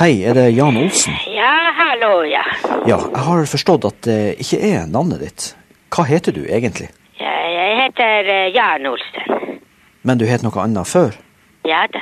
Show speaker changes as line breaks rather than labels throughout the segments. Hei, er det Jan Olsen?
Ja, hallo, ja.
Ja, jeg har forstått at det ikke er navnet ditt. Hva heter du egentlig?
ja jeg heter eh, Jan Olsen.
Men du het noe annet før?
Ja da.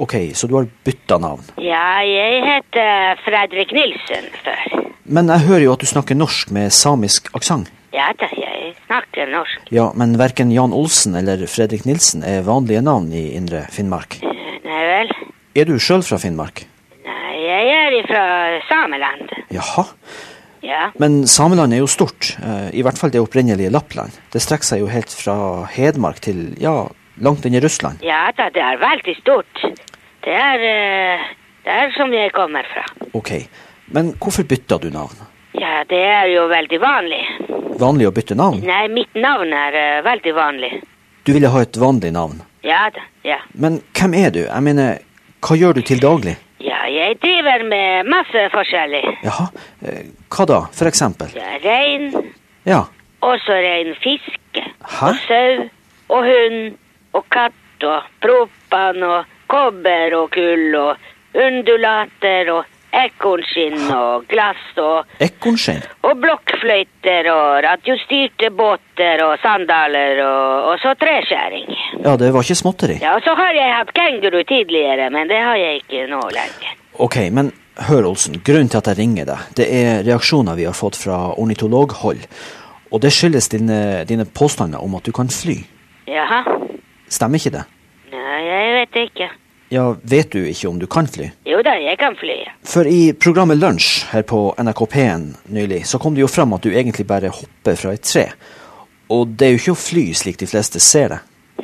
Ok, så du har bytta navn.
Ja, jeg heter Fredrik Nilsen før.
Men jeg hører jo at du snakker norsk med samisk aksent.
Ja da, jeg snakker norsk.
Ja, men verken Jan Olsen eller Fredrik Nilsen er vanlige navn i Indre Finnmark.
Eh, Nei vel.
Er du sjøl fra Finnmark?
Nei, jeg er ifra Sameland.
Jaha.
Ja.
Men Sameland er jo stort, eh, i hvert fall det opprinnelige Lappland. Det strekker seg jo helt fra Hedmark til, ja, langt inn i Russland.
ja da, det er veldig stort. Det er eh, der som jeg kommer fra.
Ok, men hvorfor bytta du navn?
Ja, det er jo veldig vanlig.
Vanlig å bytte navn?
Nei, mitt navn er eh, veldig vanlig.
Du ville ha et vanlig navn.
Ja da, ja.
Men hvem er du? Jeg mener, hva gjør du til daglig?
Ja, jeg driver med masse forskjellig.
Jaha, eh, hva da, for eksempel?
Ja, rein,
Ja,
også rein fisk,
Hæ?
og sau, og hund, og katt, og propan, og kobber og kull, og undulater, og ekornskinn, og glass, og,
ekornskinn.
og blokkfløyter, og radiostyrte båter, og sandaler, og, og så treskjæring.
Ja, det var ikke småtteri.
Ja, og så har jeg hatt kenguru tidligere, men det har jeg ikke nå lenger.
Ok, men hør, Olsen, grunnen til at jeg ringer deg, det er reaksjoner vi har fått fra ornitologhold. Og det skyldes dine, dine påstander om at du kan fly.
Jaha.
Stemmer ikke det?
Nei, jeg vet ikke.
Ja, vet du ikke om du kan fly?
Jo da, jeg kan fly. ja.
For i programmet Lunsj her på NRK P1 nylig, så kom det jo fram at du egentlig bare hopper fra et tre. Og det er jo ikke å fly slik de fleste ser det.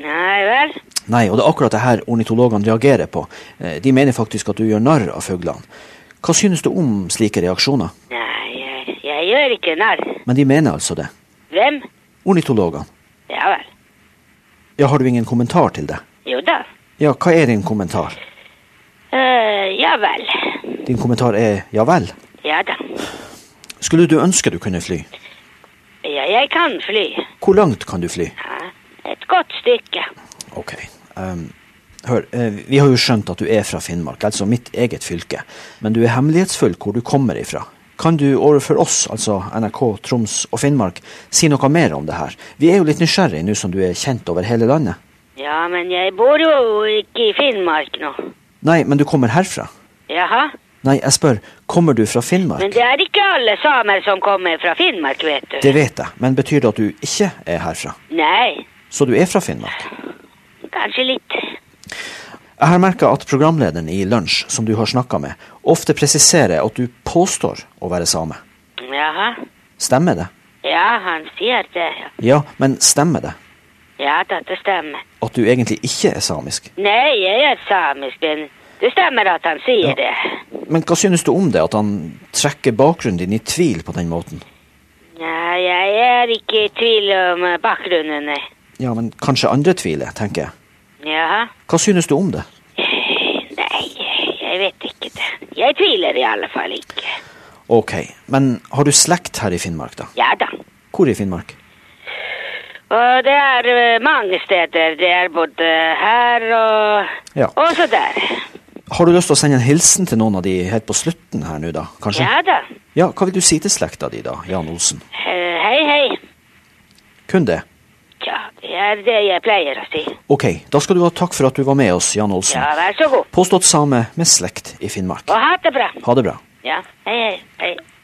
Nei vel.
Nei, og det er akkurat det her ornitologene reagerer på. Eh, De mener faktisk at du gjør narr av fuglene. Hva synes du om slike reaksjoner?
Nei, jeg, jeg gjør ikke narr.
Men de mener altså det.
Hvem?
Ornitologene.
Ja vel.
Ja, har du ingen kommentar til det?
Jo da.
Ja, hva er din kommentar?
Eh, ja vel.
Din kommentar er ja vel.
Ja da.
Skulle du ønske du kunne fly?
Ja, jeg kan fly.
Hvor langt kan du fly?
Ja, et godt stykke.
Ok. ehm, hør, eh, vi har jo skjønt at du er fra Finnmark, altså mitt eget fylke. Men du er hemmelighetsfull hvor du kommer ifra. Kan du overfor oss, altså NRK, Troms og Finnmark, si noe mer om det her? Vi er jo litt nysgjerrige nå som du er kjent over hele landet.
Ja, men jeg bor jo ikke i Finnmark nå.
Nei, men du kommer herfra.
Jaha.
Nei, jeg spør, kommer du fra
Men
Finnmark?
det er ikke alle samer som kommer fra Finnmark, vet du.
Det vet jeg, men betyr det at du ikke er herfra?
Nei,
Så du er fra Finnmark?
kanskje litt.
Jeg har merka at programlederen i Lunsj, som du har snakka med, ofte presiserer at du påstår å være same.
Jaha.
Stemmer det?
Ja, han sier det. ja.
Ja, men stemmer det
Ja da, det stemmer.
at du egentlig ikke er samisk?
Nei, jeg er samisk, men det stemmer at han sier det.
Men hva synes du om det, at han trekker bakgrunnen din i tvil på den måten?
Nei, jeg er ikke i tvil om eh, bakgrunnen, nei.
Ja, men kanskje andre tviler, tenker jeg.
Jaha.
Hva synes du om det?
Nei, jeg vet ikke det. Jeg tviler i alle fall ikke.
Ok, men har du slekt her i Finnmark, da?
Ja da.
Hvor i Finnmark?
Og det er eh, mange steder. Det er både her og
Ja.
Og så der.
Har du lyst til å sende en hilsen til noen av de helt på slutten her nå, da? Kanskje?
Ja da.
Ja, hva vil du si til slekta di, da, Jan Olsen?
Eh, Hei, hei.
Kun det?
Ja, det er det jeg pleier å si.
Ok, da skal du ha takk for at du var med oss, Jan Olsen.
Ja, vær så god.
Påstått same med slekt i Finnmark.
Og ha det bra.
Ha det bra.
Ja. Hei, hei. hei.